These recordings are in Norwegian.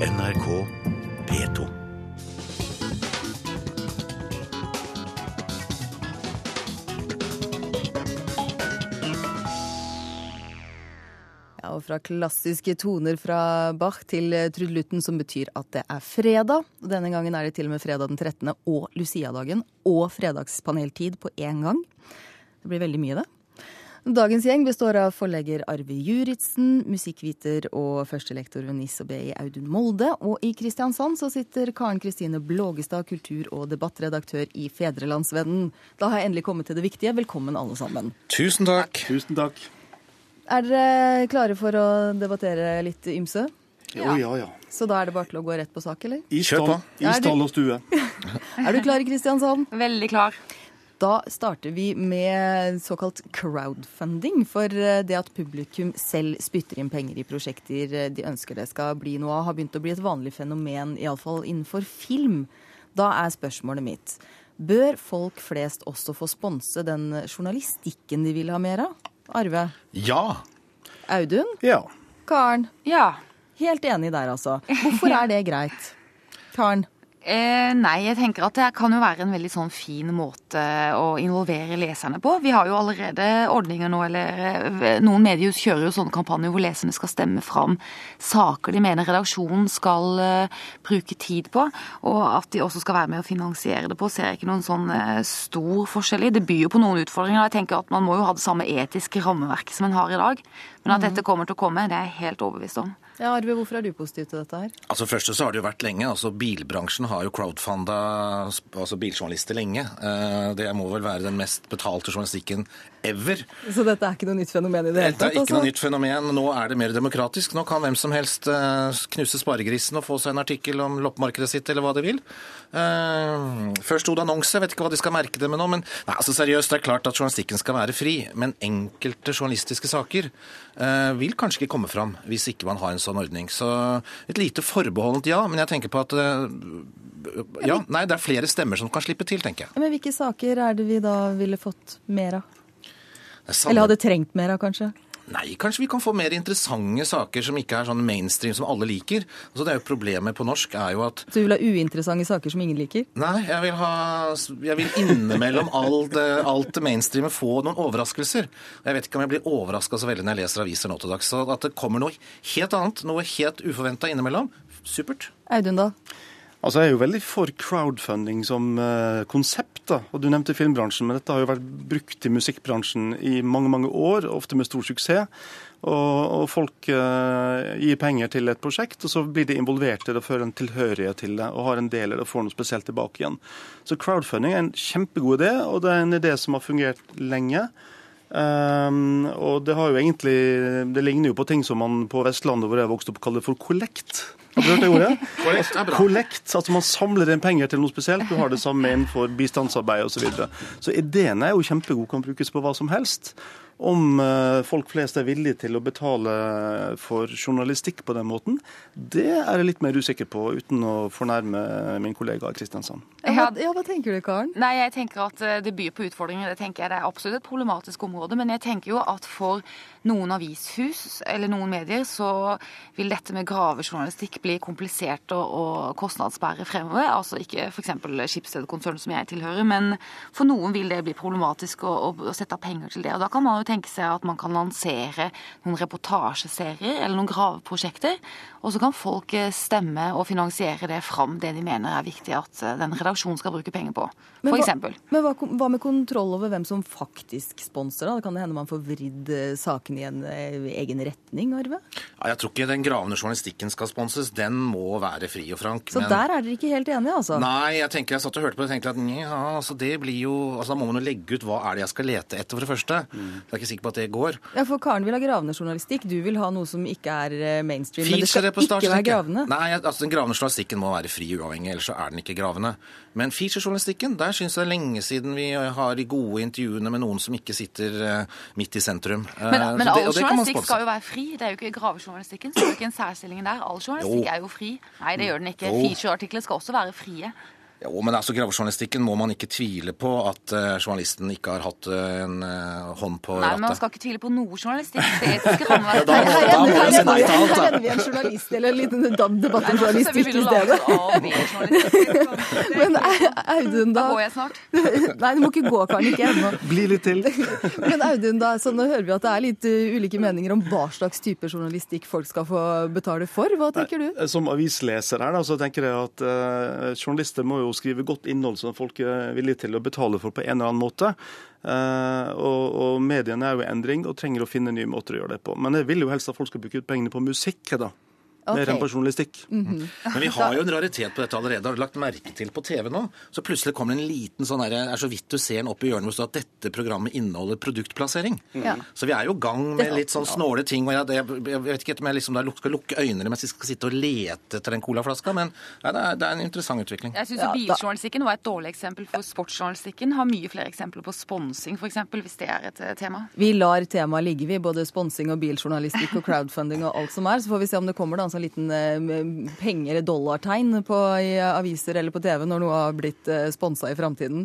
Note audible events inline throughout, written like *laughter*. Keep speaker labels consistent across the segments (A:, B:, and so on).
A: NRK P2.
B: Ja, og fra klassiske toner fra Bach til trudelutten, som betyr at det er fredag. Og Denne gangen er det til og med fredag den 13. og Lucia-dagen og fredagspaneltid på én gang. Det blir veldig mye, det. Dagens gjeng består av forlegger Arve Juritzen, musikkviter og førstelektor ved NIS og BI Audun Molde. Og i Kristiansand så sitter Karen Kristine Blågestad, kultur- og debattredaktør i Fedrelandsvennen. Da har jeg endelig kommet til det viktige. Velkommen, alle sammen.
C: Tusen takk.
D: Tusen takk.
B: Er dere klare for å debattere litt ymse?
D: Ja. ja, ja.
B: Så da er det bare til å gå rett på sak, eller?
D: I
C: Kjør
D: stall,
C: på.
D: i
B: Er du-
D: stall og stue.
B: Er du klar, Kristiansand?
E: Veldig klar.
B: Da starter vi med såkalt crowdfunding. For eh, det at publikum selv spytter inn penger i prosjekter eh, de ønsker det skal bli noe av, har begynt å bli et vanlig fenomen, iallfall innenfor film. Da er spørsmålet mitt Bør folk flest også få sponse den journalistikken de vil ha mer av? Arve?
C: Ja.
B: Audun?
D: Ja.
B: Karen?
E: Ja.
B: Helt enig der, altså. Hvorfor er det greit? Karen?
E: Eh, nei, jeg tenker at det kan jo være en veldig sånn fin måte å involvere leserne på. Vi har jo allerede ordninger nå, eller eh, noen mediehus kjører jo sånne kampanjer hvor leserne skal stemme fram saker de mener redaksjonen skal eh, bruke tid på, og at de også skal være med å finansiere det på, ser jeg ikke noen sånn eh, stor forskjell i. Det byr jo på noen utfordringer, og jeg tenker at man må jo ha det samme etiske rammeverket som en har i dag. Men at dette kommer til å komme, det er jeg helt overbevist om.
B: Ja, Arve, hvorfor er du positiv til dette her?
C: Altså Først så har det jo vært lenge. altså Bilbransjen har jo crowdfunda altså biljournalister lenge. Eh, Det må vel være den mest betalte journalistikken ever.
B: Så dette er ikke noe nytt fenomen i det hele
C: Dette
B: tatt? altså?
C: er ikke noe nytt fenomen. Nå er det mer demokratisk. Nå kan hvem som helst eh, knuse sparegrisen og få seg en artikkel om loppemarkedet sitt eller hva de vil. Eh, Først sto det annonse, vet ikke hva de skal merke det med nå. Men nei, altså seriøst, det er klart at journalistikken skal være fri. Men enkelte journalistiske saker eh, vil kanskje ikke komme fram hvis ikke man har en sånn ordning. Så et lite forbeholdent ja, men jeg tenker på at eh, ja, nei, det er flere stemmer som kan slippe til, tenker jeg.
B: Ja, Men hvilke saker er det vi da ville fått mer av?
C: Det er
B: Eller hadde trengt mer av, kanskje?
C: Nei, kanskje vi kan få mer interessante saker som ikke er sånn mainstream som alle liker. Altså, det er jo Problemet på norsk er jo at
B: Så du vil ha uinteressante saker som ingen liker?
C: Nei, jeg vil, ha, jeg vil innimellom alt det, alt det mainstreamet få noen overraskelser. Og Jeg vet ikke om jeg blir overraska så veldig når jeg leser aviser nå til dags. Så at det kommer noe helt annet, noe helt uforventa innimellom, supert.
B: Audun, da?
D: Altså, Jeg er jo veldig for crowdfunding som eh, konsept. da. Og Du nevnte filmbransjen, men dette har jo vært brukt i musikkbransjen i mange mange år, ofte med stor suksess. Og, og folk eh, gir penger til et prosjekt, og så blir de involvert i det og føler en tilhørighet til det og har en del i det og får noe spesielt tilbake igjen. Så crowdfunding er en kjempegod idé, og det er en idé som har fungert lenge. Ehm, og det har jo egentlig Det ligner jo på ting som man på Vestlandet hvor jeg vokste opp, kaller for kollekt. Har du hørt det ordet?
C: Kollekt er bra.
D: Kollekt, altså Man samler inn penger til noe spesielt. Du har det samme innenfor bistandsarbeid osv. Så, videre. så ideen er jo kjempegod, kan brukes på hva som helst. Om eh, folk flest er villige til å betale eh, for journalistikk på den måten, det er jeg litt mer usikker på, uten å fornærme min kollega i Kristiansand.
B: Ja, hva, ja, hva tenker du, Karen?
E: Nei, jeg tenker at eh, det byr på utfordringer. Det tenker jeg det er absolutt et problematisk område. Men jeg tenker jo at for noen avishus eller noen medier så vil dette med gravejournalistikk bli komplisert og, og kostnadsbære fremover. Altså ikke f.eks. Skipsstedet-konsernet som jeg tilhører, men for noen vil det bli problematisk å, å, å sette av penger til det. Og da kan man jo tenke seg at man kan lansere noen reportasjeserier eller noen graveprosjekter. Og så kan folk eh, stemme og finansiere det fram det de mener er viktig at eh, den redaksjonen skal bruke penger på. For
B: hva,
E: eksempel.
B: men hva, kon- hva med kontroll over hvem som faktisk sponser? da? Kan det hende man får vridd eh, saken i en eh, egen retning, Arve?
C: Ja, jeg tror ikke den gravende journalistikken skal sponses. Den må være fri og frank.
B: Så
C: men-
B: der er dere ikke helt enige, altså?
C: Nei, jeg tenker jeg satt og hørte på det og tenkte at ja, altså det blir jo altså Da må man jo legge ut hva er det jeg skal lete etter, for det første. Så
E: Mm.
C: Jeg er ikke sikker på at det går.
B: Ja, for Karen vil ha gravende journalistikk. Du vil ha noe som ikke er eh, mainstream. Men det skal ikke
C: Feature-reportasjen,
B: være
C: tenker jeg.
B: gravende.
C: Nei, altså Den gravende journalistikken må være fri uavhengig, ellers så er den ikke gravende. Men feature-journalistikken, der syns jeg det er lenge siden vi har de gode intervjuene med noen som ikke sitter eh, midt i sentrum. Eh,
E: Men,
C: så
E: men
C: det-
E: all
C: og det kan man
E: journalistikk
C: sponse.
E: skal jo være fri. Det er jo ikke gravejournalistikken. Så er det ikke en særstilling der. All journalistikk
C: Jo.
E: er jo fri. Nei, det gjør den ikke.
C: Jo.
E: Featureartikler skal også være frie.
C: Jo, men altså gravejournalistikken må man ikke tvile på at eh, journalisten ikke har hatt eh, en eh, hånd på
E: Nei, men man
C: rattet.
E: skal ikke tvile på noe journalistikk. Det etiske
C: da må-
E: rammeverket
C: da må du si nei til alt, da.
B: Her ender vi en journalist eller en liten dam- debatt om
E: Nei, nå synes jeg
B: journalistikk
E: vi
B: i
E: begynner å lage
B: stedet.
E: oss av med journalistikk.
B: Men Audun, da
E: Da går jeg snart.
B: Nei, du må ikke gå, Karen. Ikke ennå. *laughs*
D: Bli litt til.
B: Men Audun, da, så nå hører vi at det er litt eh, ulike meninger om hva slags type journalistikk folk skal få betale for. Hva tenker du?
D: eh, Som avisleser her, da, så tenker jeg at eh, journalister må jo skrive godt innhold som folk er villige til å betale for på en eller annen måte. Eh, og, og mediene er jo i endring og trenger å finne nye måter å gjøre det på. Men jeg vil jo helst at folk skal bruke ut pengene på musikk, da.
B: Ok.
D: Mer enn på journalistikk.
C: Men vi har jo en raritet på dette allerede. Har du lagt merke til på TV nå? Så plutselig kommer det en liten sånn derre Er så vidt du ser den opp i hjørnet hvor det står at dette programmet inneholder produktplassering.
B: Ja.
C: Så vi er jo i gang med
B: Det-
C: litt sånn snåle ting. Og jeg, det- jeg vet ikke om jeg liksom da luk- skal lukke øynene mens jeg skal sitte og lete etter den colaflaska, men nei, det, er, det er en interessant utvikling.
E: Jeg syns
B: Ja, da-
E: biljournalistikken var et dårlig eksempel, for sportsjournalistikken har mye flere eksempler på sponsing, f.eks., hvis det er et eh, tema.
B: Vi lar temaet ligge, vi. Både sponsing og biljournalistikk og crowdfunding og alt som er. Så får vi se om det kommer da, en sånn liten eh, penge- eller dollartegn på, i aviser eller på TV når noe har blitt eh, sponsa i framtiden.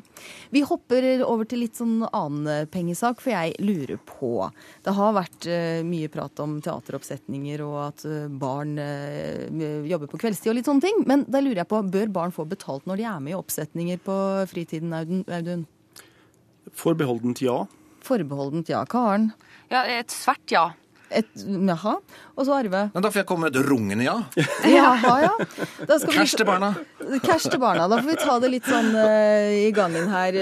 B: Vi hopper over til litt sånn annen eh, pengesak, for jeg lurer på Det har vært eh, mye prat om teateroppsetninger og at eh, barn eh, jobber på kveldstid og litt sånne ting. Men da lurer jeg på, bør barn få betalt når de er med i oppsetninger på fritiden, Audun? Audun?
D: Forbeholdent ja.
B: Forbeholdent ja. Karen?
E: Ja, et svært ja.
B: Et, jaha. Og så
E: *laughs*
B: Arve.
C: Men da får jeg komme med et rungende ja.
B: Jaha, ja. Da skal vi-
C: Cash til barna.
B: *laughs* Cash til barna. Da får vi ta det litt sånn eh, i gangen her.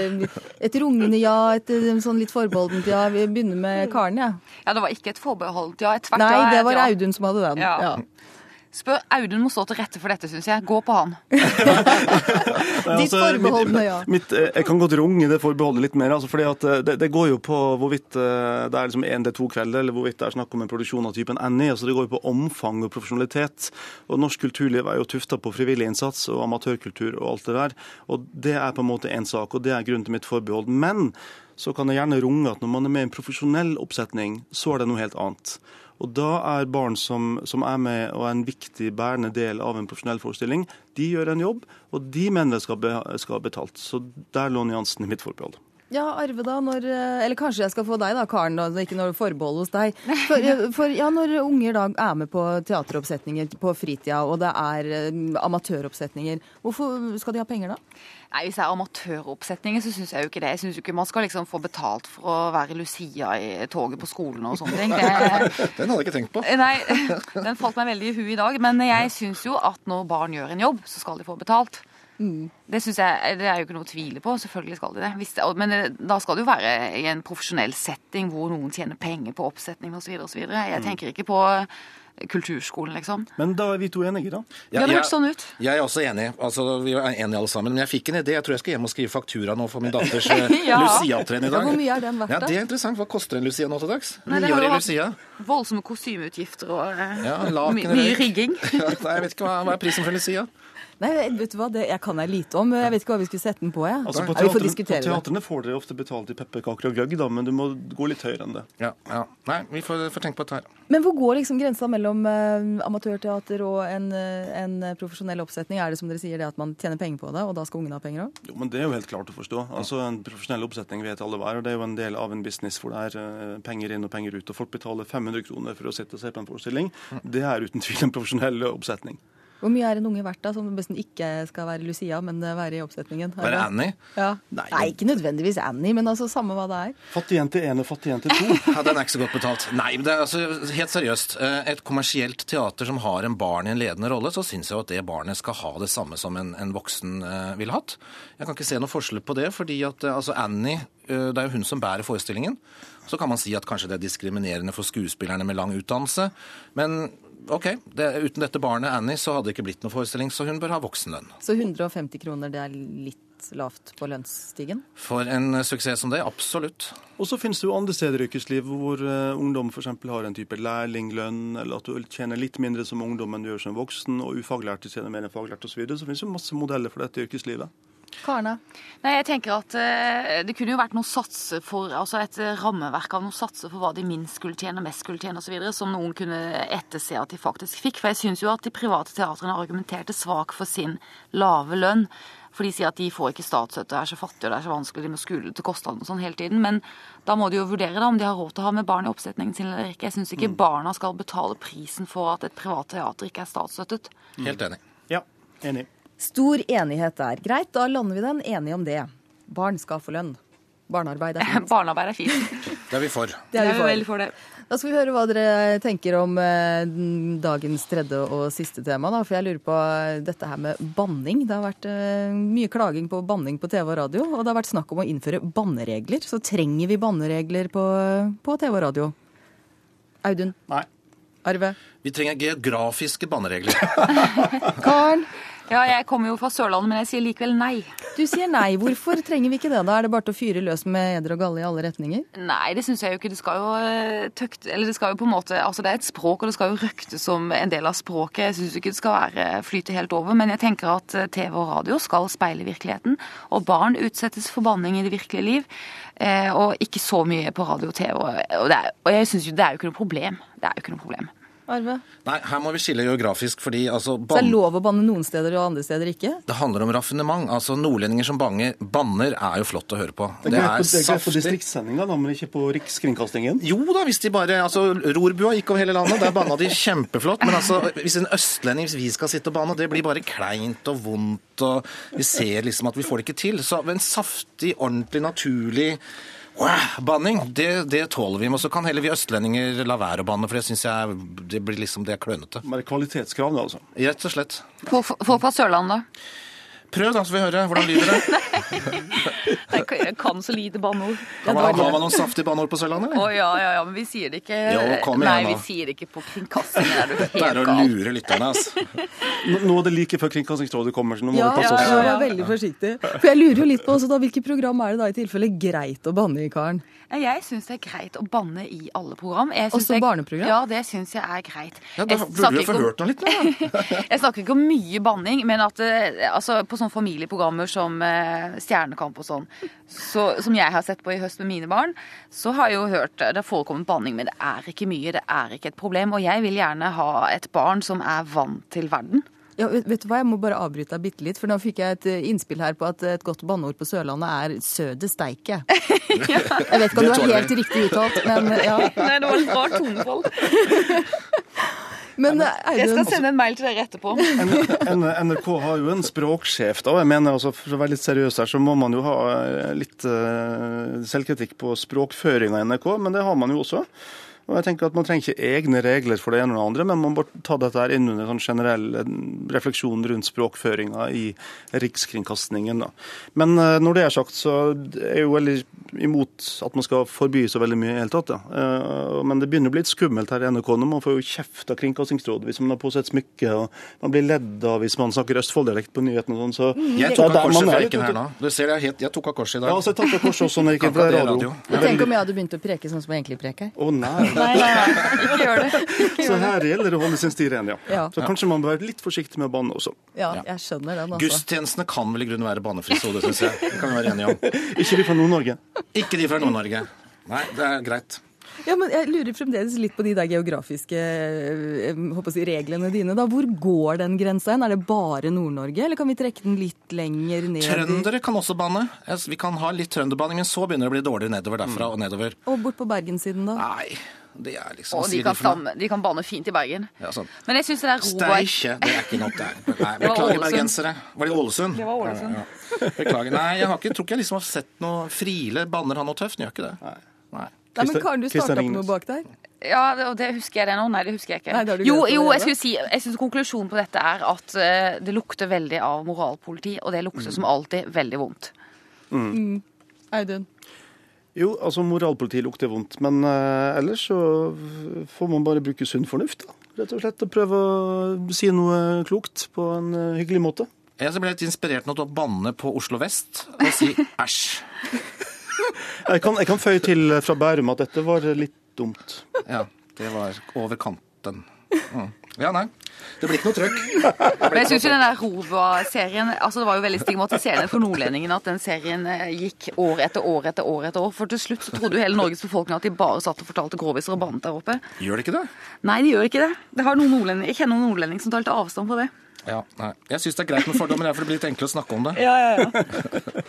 B: Et rungende ja, et eh, sånn litt forbeholdent ja. Vi begynner med Karen, jeg. Ja.
E: Ja, det var ikke et forbeholdent ja. Et svært ja.
B: Nei,
E: er
B: det
E: et
B: var
E: ja.
B: Audun som hadde den.
E: Ja.
B: Ja.
E: Spør Audun må stå til rette for dette, syns jeg. Gå på han.
B: Ditt forbeholdne ja.
D: altså, Mitt, eh, jeg kan godt runge det forbeholdet litt mer. Altså, fordi at eh, det, det går jo på hvorvidt eh, det er liksom en til to kvelder, eller hvorvidt det er snakk om en produksjon av typen Annie. Altså, det går jo på omfang og profesjonalitet. Og norsk kulturliv er jo tufta på frivillig innsats og amatørkultur og alt det der. Og det er på en måte én sak, og det er grunnen til mitt forbehold. Men så kan jeg gjerne runge at når man er med i en profesjonell oppsetning, så er det noe helt annet. Og da er barn som, som er med og er en viktig bærende del av en profesjonell forestilling, de gjør en jobb, og de mener jeg skal, be, skal ha betalt. Så der lå nyansen i mitt forbehold.
B: ja, Arve, da. Når, eh, eller kanskje jeg skal få deg, da, Karen. Da, ikke noe forbehold hos deg. For, eh, for ja, når unger da er med på teateroppsetninger på fritida, og det er eh, amatøroppsetninger, hvorfor skal de ha penger da?
E: Nei, Hvis det er amatøroppsetninger, så syns jeg jo ikke det. Jeg syns jo ikke man skal liksom få betalt for å være Lucia i toget på skolen og sånne ting. Det, *laughs*
C: Den hadde jeg ikke tenkt på.
E: nei, den falt meg veldig i huet i dag. Men jeg syns jo at når barn gjør en jobb, så skal de få betalt. Det synes jeg, det er jo ikke noe å tvile på. Selvfølgelig skal de det. Hvis det. og- Men eh, da skal det jo være i en profesjonell setting hvor noen tjener penger på oppsetningen osv. osv.
C: Mm.
E: Jeg tenker ikke på eh, kulturskolen, liksom.
D: Men da er vi to enige, da.
E: Det hadde hørt sånn ut.
C: Jeg er også enig. Altså, vi er enige alle sammen. Men jeg fikk en idé. Jeg tror jeg skal hjem og skrive faktura nå for min datters
B: *laughs*
C: eh,
E: Ja.
C: Lucia-opptreden i
B: Ja,
C: dag.
B: hvor mye er den verdt,
C: Ja,
B: da?
C: det er interessant. Hva koster en Lucia nå til dags?
E: Nei, det har
C: Niårig
E: jo
C: Lucia.
E: hatt voldsomme kostymeutgifter og eh,
C: Ja,
E: my
C: laken
E: mye
C: røyk.
E: rigging.
C: *laughs* Ja, nei, jeg vet ikke hva, hva er prisen for Lucia.
B: Nei, vet du hva? Det, jeg kan jeg lite om. Jeg vet ikke hva vi skulle sette den på. Jeg.
D: Altså, på,
B: Nei, vi får
D: teaterne- på
B: diskutere det.
D: teatrene får dere ofte betalt i pepperkaker og gløgg, da, men du må gå litt høyere enn det.
C: Ja, ja. Nei, vi får, får tenke på dette her.
B: Men hvor går liksom grensa mellom eh, amatørteater og en, eh, en profesjonell oppsetning? Er det som dere sier, det at man tjener penger på det, og da skal ungene ha penger òg?
D: Jo, men Det er jo helt klart å forstå. Altså, En profesjonell oppsetning vet alle hva er. og Det er jo en del av en business hvor det er eh, penger inn og penger ut. og Folk betaler 500 kroner for å sitte og se på en forestilling. Det er uten tvil en profesjonell oppsetning.
B: Hvor mye er en unge verdt da, som nesten ikke skal være Lucia, men eh, være i oppsetningen?
C: Være Annie?
B: Ja. Nei,
D: Nei.
B: ikke nødvendigvis Annie, men altså samme hva det er.
D: Fattig jente 1 og fattig jente 2.
C: Ja, den er ikke så godt betalt. Nei, men det er altså helt seriøst. eh, Et kommersielt teater som har en barn i en ledende rolle, så syns jeg jo at det barnet skal ha det samme som en, en voksen eh, ville hatt. Jeg kan ikke se noe forskjell på det, fordi at eh, altså Annie eh, Det er jo hun som bærer forestillingen. Så kan man si at kanskje det er diskriminerende for skuespillerne med lang utdannelse. Men OK, det, uten dette barnet Annie så hadde det ikke blitt noen forestilling, så hun bør ha voksenlønn.
B: Så 150 kroner, det er litt lavt på lønnsstigen?
C: For en eh, suksess som det, absolutt.
D: Og så finnes det jo andre steder i yrkeslivet hvor eh, ungdom f.eks. har en type lærlinglønn, eller at du tjener litt mindre som ungdom enn du gjør som voksen, og ufaglærte tjener mer enn faglærte osv. Så, videre. så finnes det jo masse modeller for dette i yrkeslivet.
B: Karne.
E: Nei, jeg tenker at eh, Det kunne jo vært noen satser for, altså et eh, rammeverk av noen satser for hva de minst skulle tjene, mest skulle tjene osv., som noen kunne etterse at de faktisk fikk. For jeg syns jo at de private teatrene argumenterte svak for sin lave lønn. For de sier at de får ikke statsstøtte, er så fattige og det er så vanskelig, de må skule til kostnadene og sånn hele tiden. Men da må de jo vurdere da, om de har råd til å ha med barn i oppsetningen sin eller ikke. Jeg syns
B: Mm.
E: ikke barna skal betale prisen for at et privat teater ikke er statsstøttet.
C: Helt enig.
D: Ja, enig.
B: Stor enighet der. Greit, da lander vi den enige om det. Barn skal få lønn. *laughs* Barnearbeid er *laughs* fint.
E: Barnearbeid er fint. *laughs*
C: Det er vi for.
B: Det er vi for.
E: for det.
B: Da skal vi høre hva dere tenker om eh, dagens tredje og siste tema. Da. For jeg lurer på eh, dette her med banning. Det har vært eh, mye klaging på banning på TV og radio. Og det har vært snakk om å innføre banneregler. Så trenger vi banneregler på, på TV og radio? Audun,
D: Nei.
B: Arve,
C: Vi trenger geografiske banneregler.
B: Karen.
E: Ja, jeg kommer jo fra Sørlandet, men jeg sier likevel nei.
B: Du sier nei. Hvorfor trenger vi ikke det? da? Er det bare til å fyre løs med eder og galle i alle retninger?
E: Nei, det syns jeg jo ikke. Det skal jo eh, tøkt... Eller det skal jo på en måte Altså, det er et språk, og det skal jo røktes som en del av språket. Jeg syns ikke det skal være eh, flyte helt over, men jeg tenker at eh, TV og radio skal speile virkeligheten. Og barn utsettes for banning i det virkelige liv. eh, Og ikke så mye på radio og TV. Og, det er, og jeg syns jo det er jo ikke noe problem. Det er jo ikke noe problem.
B: Arve?
C: Nei, her må vi skille geografisk, fordi altså
B: Så det
C: ban-
B: er lov å banne noen steder og andre steder ikke?
C: Det handler om raffinement. Altså, Nordlendinger som banger, banner er jo flott å høre på.
D: Det er greit på, det er greit på distriktssendinga, da, men ikke på rikskringkastingen.
C: Jo da, hvis de bare Altså, rorbua gikk over hele landet, der banna de kjempeflott. Men altså, hvis en østlending, hvis vi skal sitte og banne, det blir bare kleint og vondt, og vi ser liksom at vi får det ikke til. Så en saftig, ordentlig, naturlig wow, Banning, det, det tåler vi. Og så kan heller vi østlendinger la være å banne, for det syns jeg det blir liksom det er klønete.
D: Bare kvalitetskrav, da, altså.
C: Rett og slett.
E: Folk folk fra Sørlandet.
C: Prøv, da, så får vi høre hvordan lyder det.
E: Jeg kan så lite banneord.
C: Har man, har man noen saftige banneord på Sørlandet?
E: Å
C: eller?
E: ja, ja, ja, men vi sier det ikke
C: Jo, kom igjen
E: Nei,
C: nå.
E: vi sier det ikke på kringkastingen. Er du
C: Det er
E: helt
C: å
E: gal?
C: lure lytterne,
E: *laughs*
C: altså.
D: Nå nå er det like før Kringkastingsrådet kommer, så nå må
B: Ja,
D: vi
B: ja,
D: passe oss.
B: ja, vær veldig forsiktig. For jeg lurer jo litt på også da, hvilke program er det da i tilfelle greit å banne i karen?
E: Nei, Jeg syns det er greit å banne i alle program. Jeg synes
B: Også
E: det-
B: barneprogram?
E: Ja, det syns jeg er greit.
C: Ja, da
E: Jeg
C: burde vi
E: snakker
C: få
E: ikke om-
C: hørt noe litt, nå, da.
E: *laughs* Jeg snakker ikke om mye banning, men at eh, altså, på sånne familieprogrammer som eh, Stjernekamp og sånn, så, som jeg har sett på i høst med mine barn, så har jeg jo hørt eh, det har forekommet banning, men det er ikke mye, det er ikke et problem. Og jeg vil gjerne ha et barn som er vant til verden.
B: Ja, vet, vet du hva, Jeg må bare avbryte deg bitte litt, for nå fikk jeg et eh, innspill her på at eh, et godt banneord på Sørlandet er 'søde *laughs* steike'. Jeg vet ikke om det
C: Det
B: var
C: tåler
B: helt riktig uttalt, men *laughs* eh, ja.
E: *laughs* Nei, det var litt rart tonefall.
B: Men eh,
E: Jeg skal
B: Audun,
E: sende en mail til dere *laughs* etterpå.
D: N- NRK har jo en språksjef, da. og Jeg mener altså, For å være litt seriøs her, så må man jo ha eh, litt eh, selvkritikk på språkføringa i NRK, men det har man jo også. Og jeg tenker at Man trenger ikke egne regler for det ene og det andre, men man må bare ta dette her inn under sånn generell eh, refleksjon rundt språkføringa i rikskringkastingen. Da. Men eh, når det er sagt, så er jeg jo veldig imot at man skal forby så veldig mye i det hele tatt. Ja. Eh, Men det begynner å bli litt skummelt her i NRK nå. Man får jo kjeft av Kringkastingsrådet hvis man har på seg et smykke, og man blir ledd av hvis man snakker Østfold-dialekt på nyhetene og sånn. Så
C: Jeg
D: så
C: tok av
D: der man
C: korset
D: er
C: fra
D: litt
C: Eiken
D: ute-
C: her nå. Du ser, jeg, het- jeg tok av korset i
D: Ja,
C: dag.
D: altså, jeg tatt av korset også når jeg
C: Kan
D: gikk på
C: ikke det
D: radio.
B: tenk om jeg hadde begynt å preke sånn som jeg egentlig *laughs* preker.
D: Å nei.
E: Nei, nei, nei, ikke gjør det.
D: Så her gjelder det å holde sin sti ren, ja.
B: Ja.
D: Så kanskje man bør være litt forsiktig med å banne også.
B: *laughs* Ja, jeg skjønner den, altså.
C: Gudstjenestene kan vel i grunnen være banefrie, så det syns jeg. Det kan vi være enige om.
D: Ikke de fra Nord-Norge.
C: Ikke de fra Nord-Norge. Nei, det er greit.
B: Ja, men jeg lurer fremdeles litt på de der geografiske eh, håper å si, reglene dine. da. Hvor går den grensa hen? Er det bare Nord-Norge, eller kan vi trekke den litt lenger ned? i-
C: Trøndere kan også banne. Altså, Vi kan ha litt trønderbanning, men så begynner det å bli dårligere nedover derfra og nedover.
B: Og bort på bergenssiden, da?
C: Nei, det er liksom
E: Og de
C: sier
E: kan,
C: for noe?
E: stamme, de kan banne fint i Bergen.
C: Ja, sånn. sant.
E: Men jeg syns det der Robert
C: Steikje, det er ikke nok der. Nei,
E: *laughs* Det var
C: beklager,
E: Ålesund.
C: bergensere. Var det i Ålesund?
E: Det var Ålesund.
C: Ja, ja. Beklager. Nei, jeg har ikke, tror ikke jeg liksom har sett noe Friele banner han noe tøft. Han gjør ikke det. Nei.
B: Nei, men
D: Christian-
B: Karen, du
D: Christian
B: starta på
D: Ringnes.
B: noe bak der.
E: Ja, det- og det husker jeg det nå. Nei, det husker jeg ikke.
B: Nei, det har du
E: jo,
B: glemt
E: jo,
B: allerede.
E: jeg skulle si Jeg syns konklusjonen på dette er at eh, det lukter veldig av moralpoliti, og det lukter som alltid veldig vondt.
B: Audun.
D: Jo, altså moralpolitiet lukter vondt, men eh, ellers så får man bare bruke sunn fornuft, da. Rett og slett, og prøve å si noe klokt på en eh, hyggelig måte.
C: Jeg ble litt inspirert nå til å banne på Oslo vest og
E: *laughs*
C: si æsj.
D: Jeg kan, jeg kan føye til eh, fra Bærum at dette var litt dumt.
C: Ja, det var over kanten. Mm. Ja, nei. Det blir ikke noe trøkk.
E: Men jeg synes jo den der Roba-serien altså Det var jo veldig stigmatiserende for nordlendingene at den serien eh, gikk år etter år etter år etter år. For til slutt så trodde jo hele Norges befolkning at de bare satt og fortalte groviser og bannet der oppe.
C: Gjør det ikke det?
E: Nei, de gjør ikke det. Det har noen nordlendinger, Jeg kjenner noen nordlendinger som tar litt avstand fra det.
C: Ja, nei. Jeg syns det er greit med fordommer, jeg, for det blir litt enklere å snakke om det.
E: Ja, ja, ja.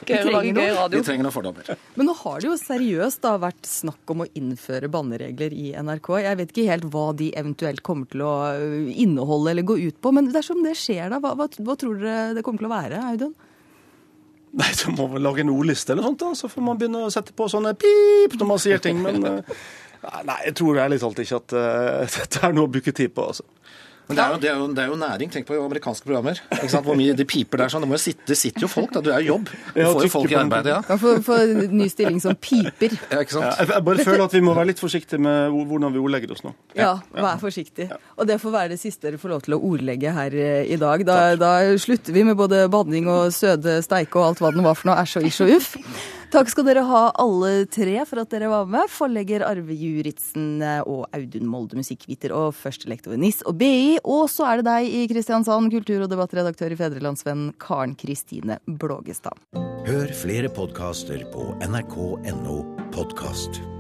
E: Gøy å lage gøy
C: Vi
E: radio.
C: trenger noen fordommer.
B: Men nå har det jo seriøst da vært snakk om å innføre banneregler i NRK. Jeg vet ikke helt hva de eventuelt kommer til å øh, inneholde eller gå ut på, men dersom det skjer da, hva, hva, hva tror dere det kommer til å være, Audun?
D: *laughs* Nei, så må man lage en ordliste eller sånt, da. Så får man begynne å sette på sånne pip når man sier ting. Men *laughs* eh, nei, jeg tror ærlig talt ikke at eh, *laughs* dette er noe å bruke tid på, altså.
C: Men det er, jo, det, er jo, det er jo næring. Tenk på jo amerikanske programmer. Ikke sant? Hvor mye de piper der sånn. Det, må jo sitte, det sitter jo folk, da. Du er jo jobb. Du
D: Ja,
C: får jo
D: trykker
C: folk
D: på
C: i
D: den
C: arbeid, ja.
B: Kan få, få en ny stilling som piper.
C: ja ikke
D: Ja,
C: sant?
D: Jeg jeg bare føler at vi må være litt forsiktige med hvor- hvordan vi ordlegger oss nå.
B: Ja, vær forsiktig. Og det får være det siste dere får lov til å ordlegge her eh, i dag. Da, da slutter vi med både banning og søde steike og alt hva den var for noe æsj og isj og uff. Takk skal dere ha alle tre for at dere var med. Forlegger Arve Juritzen eh, og Audun Molde, musikkviter og førstelektor ved NIS og BI. Og så er det deg i Kristiansand, kultur- og debattredaktør i Fedrelandsvennen, Karen Kristine Blågestad.
A: Hør flere podkaster på nrk.no podkast.